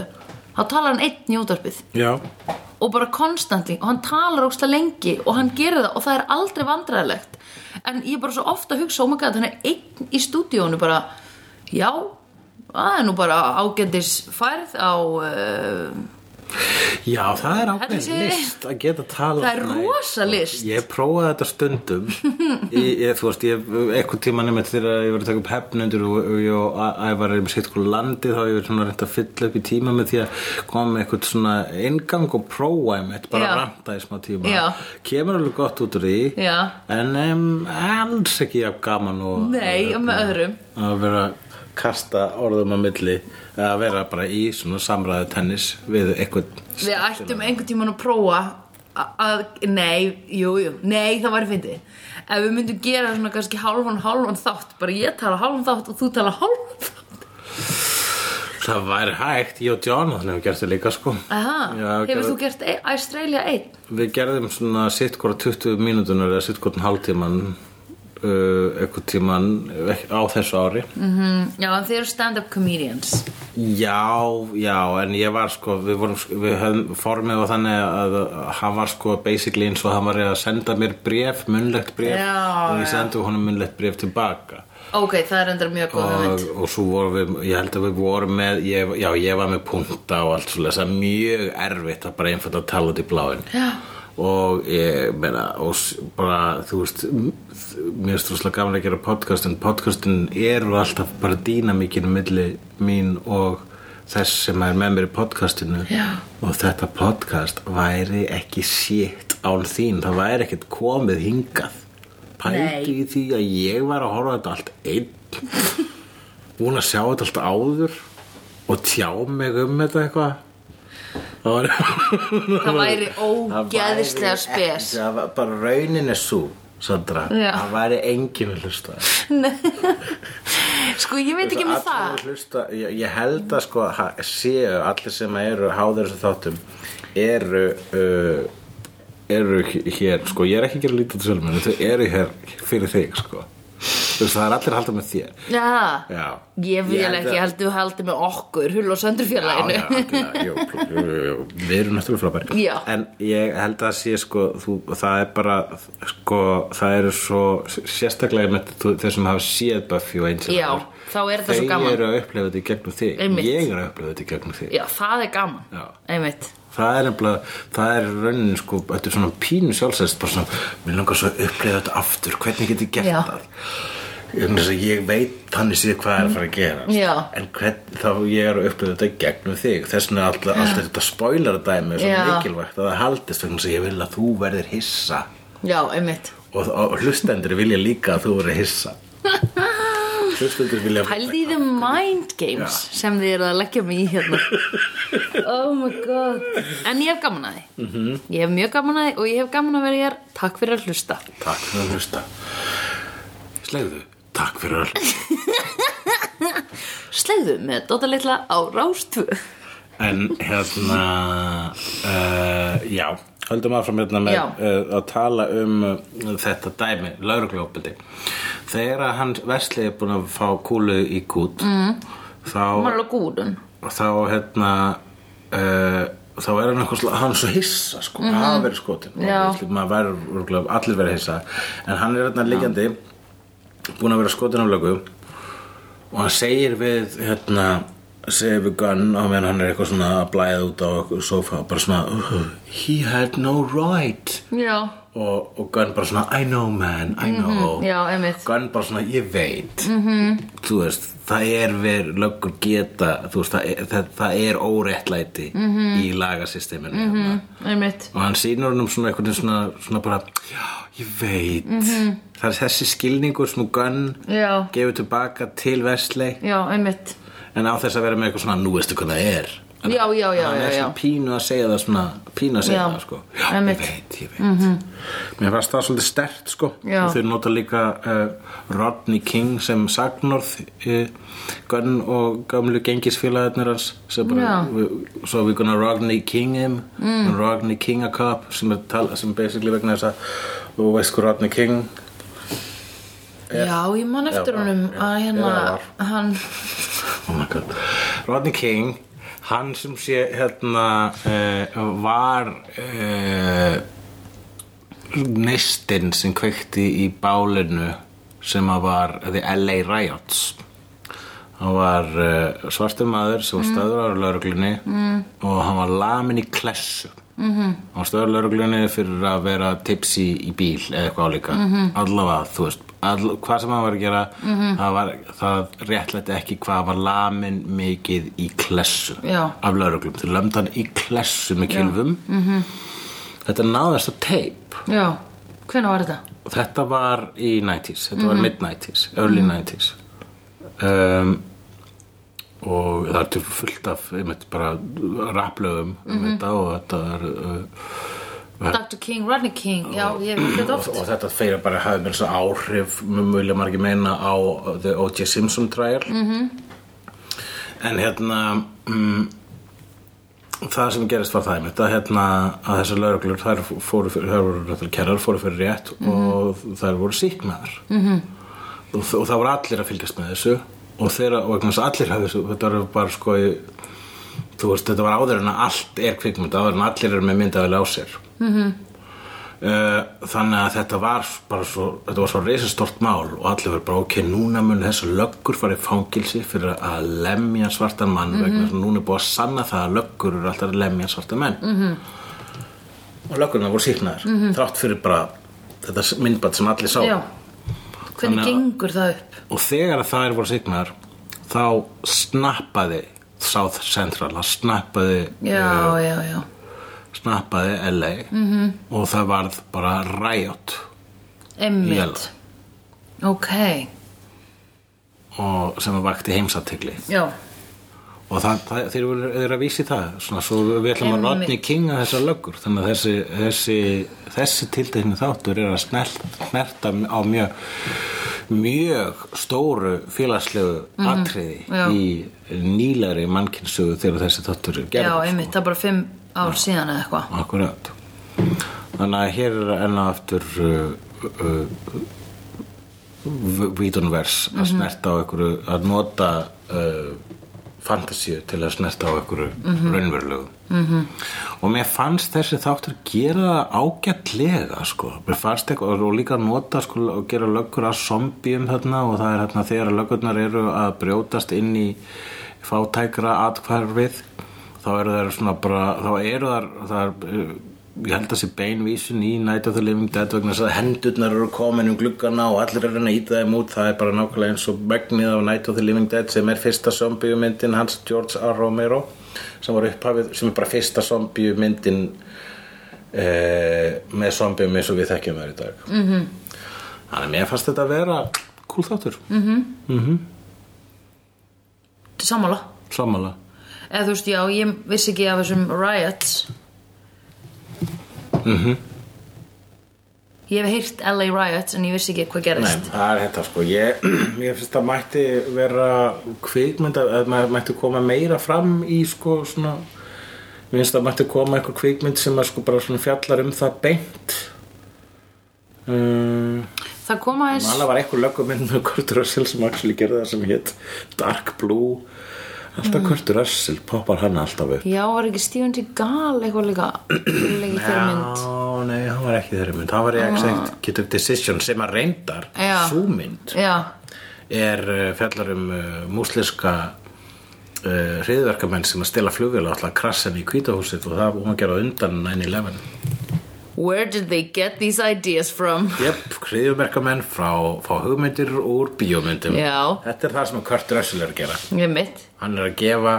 Þá talar hann einn í útvarpið Já. og bara konstantli og hann talar ógsta lengi og hann gerir það og það er aldrei vandræðilegt en ég er bara svo ofta að hugsa oh my god, hann er einn í stúdíónu bara já, það er nú bara ágændis færð á uh, Já, það er ákveðin Heldur sé- list að geta tala. Það er Nei, rosa list. Ég prófaði þetta stundum. ég, ég, þú veist, ég, eitthvað tíma nema þegar ég var að taka upp hefnundur og, og ég og Æ- Ævar erum sitt hvað landið þá hef ég svona reynt að fylla upp í tíma með því að koma með eitthvað svona inngang og prófa einmitt, bara Já. ranta í smá tíma. Já. Kemur alveg gott út úr því, Já. en um, alls ekki jafn gaman og nei, og með öðrum að vera kasta orðum á milli að vera bara í svona samræðu tennis við eitthvað Við ættum einhvern tíman að prófa að, að nei, jú, jú, nei, það væri fyndið. Ef við myndum gera svona kannski hálfan, hálfan þátt, bara ég tala hálfan þátt og þú tala hálfan þátt. Það væri hægt, ég og John þannig hefur gert það líka sko Aha, Já, hefur gerðu- þú gert e- Australia 1? Við gerðum svona sitt hvora 20 mínútunar eða sitt hvora hálftíman uh, eitthvað tíman eh, á þessu ári Mm, já, en þið eru stand-up comedians. Já, já, en ég var sko, við vorum, sko- við höfum formið og þannig að hann var sko basically eins og hann var að senda mér bref, munnlegt bref Já, og ég já. sendi honum munnlegt bref tilbaka Ok, það er endur mjög góð og, hugmynd. og svo vorum við, ég held að við vorum með, ég, já, ég var með punta og allt svolítið, það er mjög erfitt að bara einfalt að tala út í bláin Já. og ég meina og s- bara, þú veist m- mér er stróðslega gaman að gera podcast en podcastin eru alltaf bara dýna mikið milli mín og þess sem er með mér í podcastinu Já. og þetta podcast væri ekki sétt án þín það væri ekkert komið hingað pældu Nei. í því að ég var að horfa á þetta allt einn búin að sjá þetta allt áður og tjá mig um þetta eitthvað það var Það væri Það ógeðislega væri spes. ekki- það var bara raunin er svo Sandra, Já. það væri enginn að hlusta Sko, ég veit ekki með Allir það. að hlusta, ég, ég held að sko ha- séu allir sem eru háður þessu þáttum eru uh, eru h- hér sko, ég er ekki að gera lítið til sjálfum mér en þau eru hér fyrir þig sko þú veist það er allir að halda með þér Já. já Ég vil held ekki, að- ég held þú heldur með okkur, hull og Já, söndurfélaginu. já, algjörlega, jú, jú, jú, jú, við erum náttúrulega frábæri Já. en ég held að sé sko þú, það er bara sko, það eru svo sérstaklega með þú- þeir sem hafa séð Buffy og Angel Já, þá er þetta svo þau gaman. eru að upplifa þetta í gegnum þig Einmitt. ég er að upplifa þetta í gegnum þig Já, það er gaman. Já. Einmitt. það er nefnilega, það er raunin sko, þetta er svona pínu sjálfsæðist bara svona, mér langar svo að upplifa þetta aftur hvernig get ég gert Já. það Vegna þess að ég veit þannig síðan hvað er að fara að gera Já. en hvern, þá ég er að upplifa þetta í gegnum þig þess vegna alltaf, alltaf þetta spoiler dæmi er svo Já. mikilvægt að það haldist vegna þess að ég vil að þú verðir hissa Já, einmitt. og, og hlustendur vilja líka að þú verður hissa hlustendur vilja Pældi í the mind games sem þið eru að leggja mig í hérna Oh my god En ég hef gaman að því Mhm. Ég hef mjög gaman að því og ég hef gaman að vera hér Takk fyrir að hlusta Takk fyrir að hlusta Slegðu Takk fyrir að hlusta Slegðu með Dóta Litla á Rástvu En hérna uh, Já, höldum áfram hérna með Já. uh, að tala um uh, þetta dæmi, laurugluopildi Þegar að hann Vesli er búin að fá kúlu í kút mm. Mhm. Hún þá, var alveg gúrun þá hérna uh, þá er hann eitthvað slá- hann er svo hissa sko, mm -hmm. að vera skotin Mhm. Já. Og maður væri örugglega- allir verið hissa en hann er hérna liggjandi búin að vera skotin af lögu og hann segir við hérna, segir við Gunn á meðan hann er eitthvað svona að blæða út á sofa bara svona "Ugh, he had no right Já, og, og Gunn bara svona I know man, I know Mhm. já, einmitt Gunn bara svona, ég veit -hmm. þú veist, það er verið löggur geta, þú veist, það er, það, það er óréttlæti -hmm. í lagasysteminu mm -hmm. Einmitt og hann sýnur hann um svona einhvern veginn svona, svona bara, já, ég veit það er þessi skilningur sem Gunn Já, gefur tilbaka til Vestley já, einmitt en á þess að vera með eitthvað svona nú veistu hvað það er en Já, já, já, hann já, er já. svona pínu að segja það svona pínu að segja Já, það sko já, einmitt. Mhm. ég veit, ég veit mér fannst það svolítið stert sko Já. Og þau nota líka uh, Rodney King sem sagnorð uh, Gunn og gamlu gengisfélagarnir hans sem Já. bara, we- so we're gonna Rodney King him mm. Rodney King a cop sem er tala, sem basically vegna þess að þú veist hvað Rodney King Já, ég man eftir Já, honum já, að já, hérna já, Hann, oh my god Rodney King hann sem sé hérna uh, var uh, neistinn sem kveikti í bálinu sem að var The LA Riots hann var uh, svartur maður sem var stöður á lauruglunni mm. og hann var lamin í klessu mm -hmm. hann var stöður á lauruglunni fyrir að vera tipsi í bíl eða eitthvað álíka -hmm. allavega, þú veist all, hvað sem hann var að gera -hmm. það, var, það réttlætti ekki hvað hann var lamin mikið í klessu Já. af lauruglum, þau lömd hann í klessu með kylfum -hmm. þetta náðast að teip já, hvenær var þetta? og þetta var í 90s, þetta var mid-90s early 90s um, og það er til fullt af einmitt bara rapplögum um þetta og þetta er uh, Dr. King, Rodney King, já, ég hef þetta og, oft og þetta feira bara að hafa mér svo áhrif mjög vilja margir meina á uh, The O.J. Simpson trial Mhm. -hmm. en hérna um, það sem gerist var það einmitt að, hérna, að þessar lauruglur þær fóru fyrir, þær voru náttúrulega kerrar fóru fyrir rétt Mhm. og þær voru síknaðar -hmm. og, og það voru allir að fylgjast með þessu og þeirra, og vegna þess að allir hafði þessu, þetta var bara sko í, þú veist, þetta var áður en að allt er kvikmynd, áður en allir eru með myndaðilega á sér Eh, þannig að þetta var bara svo, þetta var svo reisastort mál og allir verið bara ok, núna mun þessu löggur farið fangilsi fyrir að lemja svartan mann vegna þess að núna er búið að sanna það að löggur eru alltaf að lemja svartan menn -hmm. og löggurna voru síknaðir -hmm. þrátt fyrir bara þetta myndbætt sem allir sá Já, hvernig Þannig að- gengur það upp? og þegar að þær voru signar þá snappaði South Central, það snappaði Já, já, já snappaði LA Mhm. -hmm. og það varð bara ræjót Einmitt Ok, og sem að vakti heimsatikli já og það, það, þeir voru þeir eru að vísi það svona, svo við ætlum að Einmitt. Rodney Kinga þessar löggur þannig að þessi, þessi, þessi tildegni þáttur er að snert, snerta á mjög mjög stóru félagslegu atriði Mhm. já. í nýlari mannkynnsugu þegar þessi þáttur er Já, gerð einmitt, það er bara fimm ár síðan eða eitthvað akkurat þannig að hér er enn og aftur uh, uh, vítunvers að snerta á einhverju að nota uh, fantasíu til að snerta á einhverju raunverulegu -hmm. og mér fannst þessi þáttur gera það ágætlega sko. mér fannst eitthvað og líka nota sko, og gera löggur að zombjum þarna og það er þarna þegar löggurnar eru að brjótast inn í fátækra atkvarfið þá eru þær svona bara þá eru þær, þær uh, ég held að sé beinvísun í Night of the Living Dead vegna þess að hendurnar eru komin um gluggana og allir eru að reyna að íta þeim út það er bara nákvæmlega eins og megnið af Night of the Living Dead sem er fyrsta zombiumyndin hans George R. Romero sem, var upphafið, sem er bara fyrsta zombiumyndin eh, með zombium eins og við þekkjum þær í dag mm -hmm. þannig að mér fannst þetta að vera cool þáttur mm -hmm. Til sammála sammála Eða þú veist, já, ég vissi ekki af þessum riots Mhm Ég hef heyrt LA riots en ég vissi ekki hvað gerist Nei, það er þetta sko ég, ég finnst að mætti vera kvikmynd að maður mætti koma meira fram í sko svona mér finnst að mætti koma einhver kvikmynd sem að sko bara svona fjallar um það beint um, Það koma eins Alla var eitthvað löguminn með Kurt Russell sem actually gerði það sem hétt Dark Blue Alltaf Mm. Kurt Russell poppar hann alltaf upp Já, var ekki Steven Seagal eitthvað líka Líka í þeirri mynd Já, nei, hann var ekki þeirri mynd Það var í Exact Get Up Decision sem að reyndar Já. sú mynd Já, er uh, fjallar um uh, músliska uh, hriðverkamenn sem að stela flugvél og alltaf að krassa henni í kvítahúsið og það um að gera á undan 9-11 where did they get these ideas from? Jöp, hriðverkamenn frá fá hugmyndir úr bíómyndum Já. Þetta er það sem Kurt Russell er að gera Ég mitt Hann er að gefa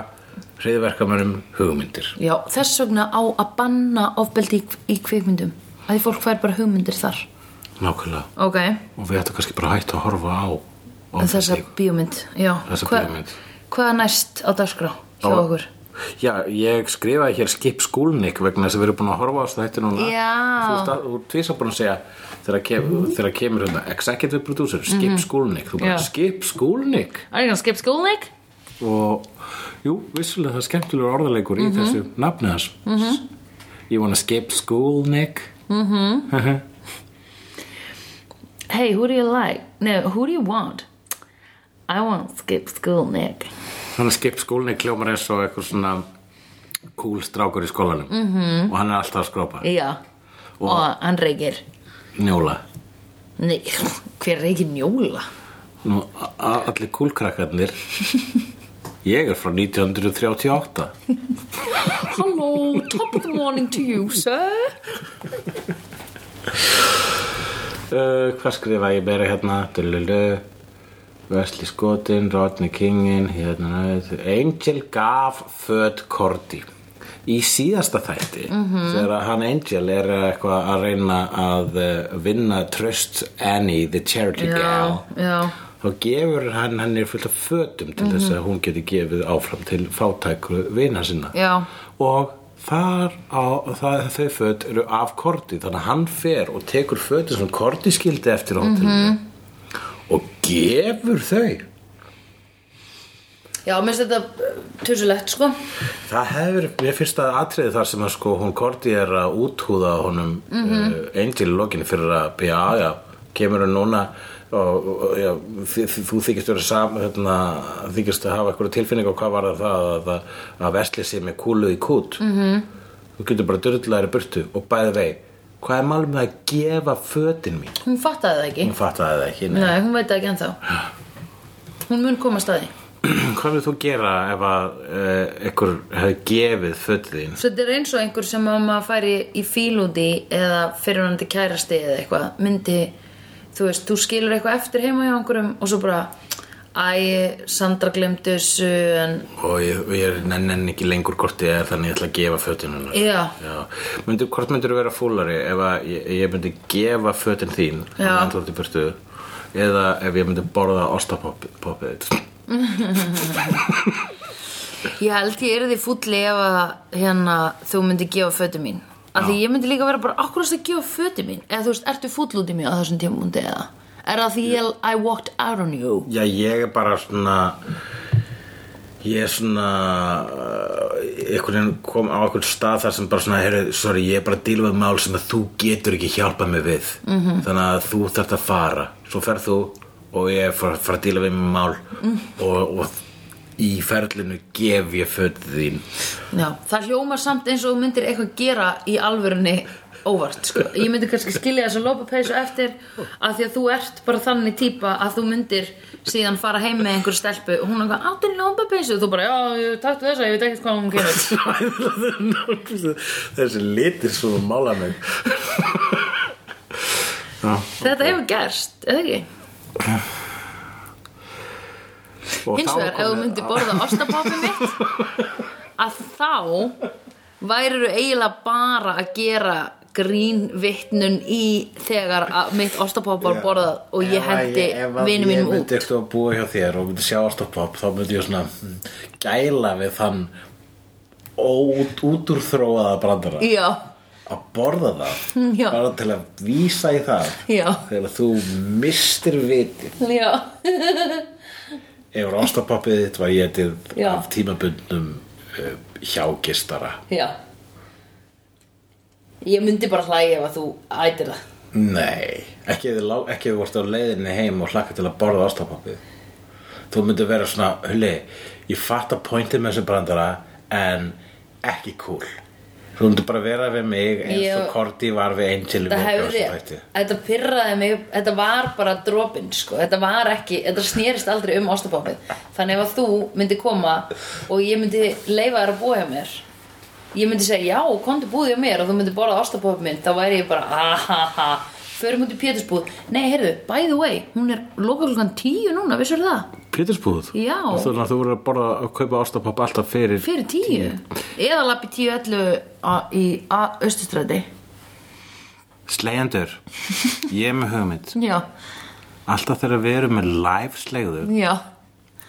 hriðverkamennum hugmyndir Já, þess vegna á að banna ofbeldi í, í kvikmyndum að því fólk fær bara hugmyndir þar Nákvæmlega Ok, og við ættum kannski bara að hætta að horfa á á Um þessa þessi- bíómynd Já, Þessa Hva- bíómynd. Hvað er næst á dagskrá Á- hjá okkur? Já, ég skrifaði hér skip skúlnik vegna þess að við erum búin að horfa á þessu þætti núna Já. Þú ert að- Þú ert tvisa búin að segja þegar, kem, þegar kemur hérna executive producer, skip mm skúlnik Þú bara Mhm. Já. skip skúlnik Are you gonna skip school, Nick? og jú, vissulega það er skemmtilegur orðaleikur Mhm. í þessu nafni hans mm -hmm. Ég vona skip skúlnik Mhm. Hey, who do you like? No, who do you want? I want skip school, Nick Þannig að skip skúlnik kljómar eins og eitthvað svona cool strákur í skólanum mm Mhm. -hmm. og hann er alltaf að skrópa Já, og, hann reykir njóla Nei, hver reykir njóla? Nú, a- a- allir kúlkrakkarnir Ég er frá 1938 Hello, top of the morning to you, sir uh, Hvað skrifa ég meira hérna? Dululu Wesley Skotin, Rodney Kingin hérna, Angel gaf föt Korti Í síðasta þætti þegar að hann Angel er eitthvað að reyna að eh, vinna tröst Annie, the charity Já, gal já þá gefur hann henni fullt af fötum til þess að hún geti gefið áfram til fátækru vina sinna Já. og þar á, það, þau föt eru af Korti þannig að hann fer og tekur fötin sem Korti skildi eftir á hótelinu og gefur þau Já, mér finnst þetta tursulegt, sko. Það hefur, mér finnst að atriði þar sem að sko hún Korti er að úthúða honum mm Angel í lokinu fyrir að byrja að já, kemur hún núna og, og já, þi- þi- þú þykist vera sam, hérna, þykist að hafa eitthvað tilfinning og hvað var það að, að, að vesli sér með kúlu í kút -hmm. þú getur bara dörðlæri burtu og bæði vei, hvað er málum með að gefa fötin mín? Hún fattaði það ekki. Hún fattaði það ekki, Nei, hún veit það ekki ennþá. Hún mun koma að staði. Hvað vil þú gera ef að uh, ykkur hefði gefið fötið þín? Svo þetta er eins og einhver sem að maður færi í fíl út í eða fyrirvænandi kærasti eða eitthvað, myndi, þú veist, þú skilur eitthvað eftir heima hjá einhverjum og svo bara, æ, Sandra glemdi þessu en, Og ég, og ég nenn enn ekki lengur hvort ég er þannig ég ætla að gefa fötin hennar. Já. Já. Myndu, hvort myndur þú vera fúlari ef að ég, ég myndi gefa fötin þín Já. en þú ert í burtu eða ef ég myndi borða ostapoppið þitt. ég held ég er því fúlli ef að hérna, þú myndi gefa fötu mín. Af því ég myndi líka vera bara, akkur að gefa fötu mín? Eða þú veist, ertu fúll út í mig á þessum tímundi eða? Er það því ég, I walked out on you? Já, ég er bara svona ég er svona uh, einhvern veginn kom á einhvern stað þar sem bara svona, heyrðu, sorry, ég er bara að díla við mál sem að þú getur ekki hjálpað mig við -hmm. þannig að þú þarft að fara svo ferð þú og ég er fara, fara að díla við mál mm. og, og í ferlinu gef ég fötu þín Já, það hljómar samt eins og þú myndir eitthvað gera í alvörunni óvart sko. Ég myndi kannski skilja þess að lópa peysu eftir að því að þú ert bara þannig típa að þú myndir síðan fara heim með einhver stelpu og hún er eitthvað áttu lópa peysu og þú bara já, ég taktu þessa, ég veit ekkert hvað hún kemur þessi litir svo mála mig Já Þetta hefur gerst, eða ekki? Og Hins þá er vegar, ef þú komið- myndir borða ostapappi mitt að þá væriru eiginlega bara að gera grínvittnun í þegar að mitt ostapopp var borðað og ég Ef að hendi ég- ef að ég vinnu mínum út myndi eitthvað að búa hjá þér og myndi sjá ortopopp þá myndi ég svona mm, gæla við þann út, út úr þróaða brandara Já, að borða það Já. bara til að vísa í það Já. þegar þú mistir viti já, ef ortopoppið þitt var ég til Já. af tímabundnum uh, hjágistara já Ég myndi bara hlæja ef að þú ætir það Nei, ekki ef þið lá- ekki ef þú vorst á leiðinni heim og hlakka til að borða ástapappið Þú myndir vera svona, hulli, ég fatt að pointið með þessu brandara en ekki cool Þú myndir bara vera við mig eins og Ég- Korti var við Angel í Þetta Vókjásu hefði, þætti. þetta pyrraði mig Þetta var bara dropin, sko Þetta var ekki, þetta snerist aldrei um ástapoppið Þannig ef að þú myndi koma og ég myndi leifa þér að búa hjá mér Ég myndi segja, já, komdu búið hjá mér og þú myndi borða ástapoppið minn þá væri ég bara, ahaha Förum út í Pétursbúð Nei, heyrðu, by the way, hún er loka klukkan tíu núna, vissur það? Pétursbúð? Já. Og Þú þannig að þú voru að borða að kaupa ástapapp alltaf fyrir Fyrir tíu? Eða lappi tíu ellu á- í austustræti Slegjandur, ég er með hugmynd Já, Alltaf þegar við erum með live slegðu já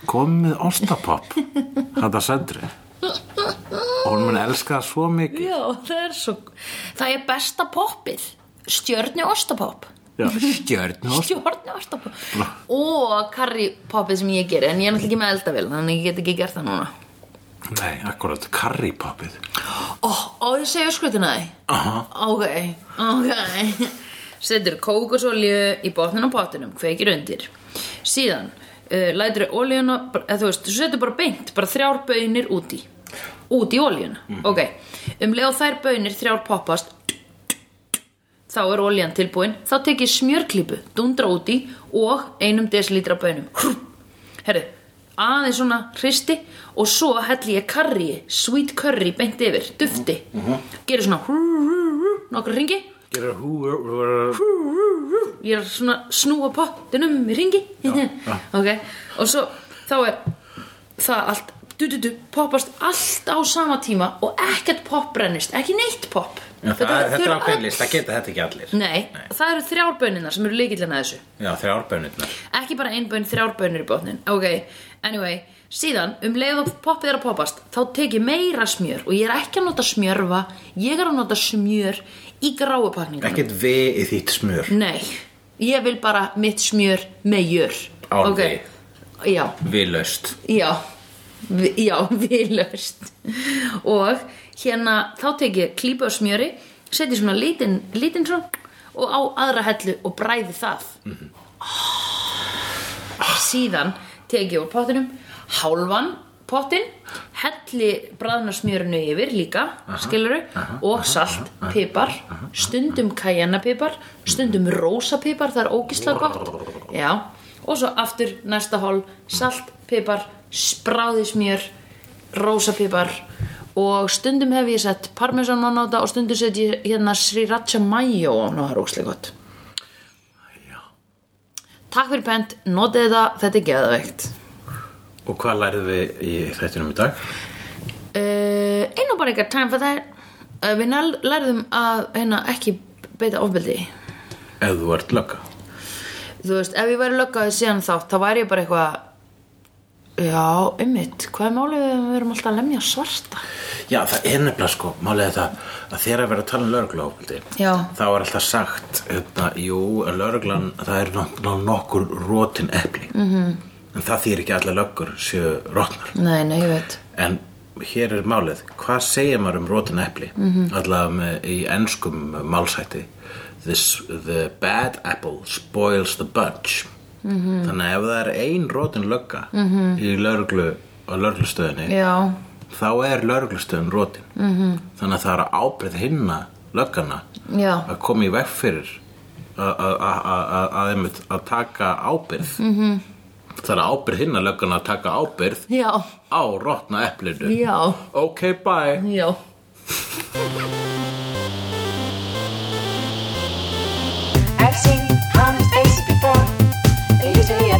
komið með ástapapp Þetta söndri Og hún mun elska það svo mikið Já, það er svo Það er besta poppið Stjörnu ostapopp Stjörn Stjörnu ostapopp Og karripoppið sem ég ger En ég er náttúrulega ekki með eldavél Þannig ég get ekki gert það núna Nei, akkurat, karripoppið Ó, Oh, ó, ég segja skrutina því Aha. Ok, ok Setur kókosolíu í botnin á pottinum Kveikir undir Síðan uh, lætur olíuna eða, Þú veist, þú setur bara beint Bara þrjár bönir út í Út í olíuna, ok Um leið og þær bönir þrjár poppast Þá er olían tilbúin Þá tek ég smjörklípu, dundra út í Og einum desilítra bönum Herri, aðeins svona hristi og svo helli ég karri, sweet curry beint yfir, dufti gerir svona hú, hú, hú, nokkur ringi Gerir hú ég er svona að snúa pottinum í ringi ok, og svo þá er það allt du, du, du, poppast allt á sama tíma og ekkert popp brennist, ekki neitt popp Já, það, Þetta- þau þetta er eru ákveðin öll- list, það geta þetta ekki allir Nei, það eru þrjár bönirnar sem eru líkillina þessu Já, þrjár bönirnar ekki bara ein bönn, þrjár bönnir í botnin ok, anyway síðan, um leið og poppið er að poppast þá tek ég meira smjör og ég er ekki að nota smjörfa ég er að nota smjör í gráu pakningunum Ekkert við í þitt smjör nei, ég vil bara mitt smjör með jör Án ok, já Við löst Já, vi, já, viðlöst Og hérna þá tek ég klípu á smjöri setji svona lítinn lítinn svona og á aðra hellu og bræði það Síðan tek ég úr pottinum hálfan pottin helli bræðna smjörinu yfir líka skiluru og salt, pipar stundum kajenapipar stundum rósapipar, það er ógislega gott já, og svo aftur næsta hól, salt, pipar spráði smjör rósapipar og stundum hef ég sett parmesan á nota og stundum set ég hérna sriracha mayo á nota, það er ógislega gott Takk fyrir pent, notið þetta, þetta er geðveikt Og hvað lærið við í þættinum í dag? uh, einu bara eitthvað time for that uh, við nær- lærðum að hérna, ekki beita ofbeldi Ef þú ert lögga þú veist, ef ég væri löggaði síðan þátt þá væri ég bara eitthvað já, ummitt, hvað er málið ef við erum alltaf að lemja svarta Já, það er nefnilega sko, málið er það að þegar að vera að tala um lögregluofbeldi Já. þá er alltaf sagt hérna, jú, að lögreglan, það er náttúrulega nokkur rótin epli Mhm. -hmm. en það þýr ekki að allar löggur séu rótnar nei, nei, ég veit en hér er málið, hvað segir maður um rótin epli mm -hmm. allavega í enskum málsætti This, the bad apple spoils the bunch -hmm. þannig að ef það er ein rótin lögga -hmm. í lögreglu á lögreglustöðinni já, þá er lauruglustöðun rótin -hmm. þannig að það er að ábyrð hinna löggana Já. að koma í veg fyrir að- að- að- að- að- að einmitt að taka ábyrð -hmm. það er að ábyrð hinna löggana að taka ábyrð já, á rótna eplinu já ok, bye já I've seen honest faces before. They're usually a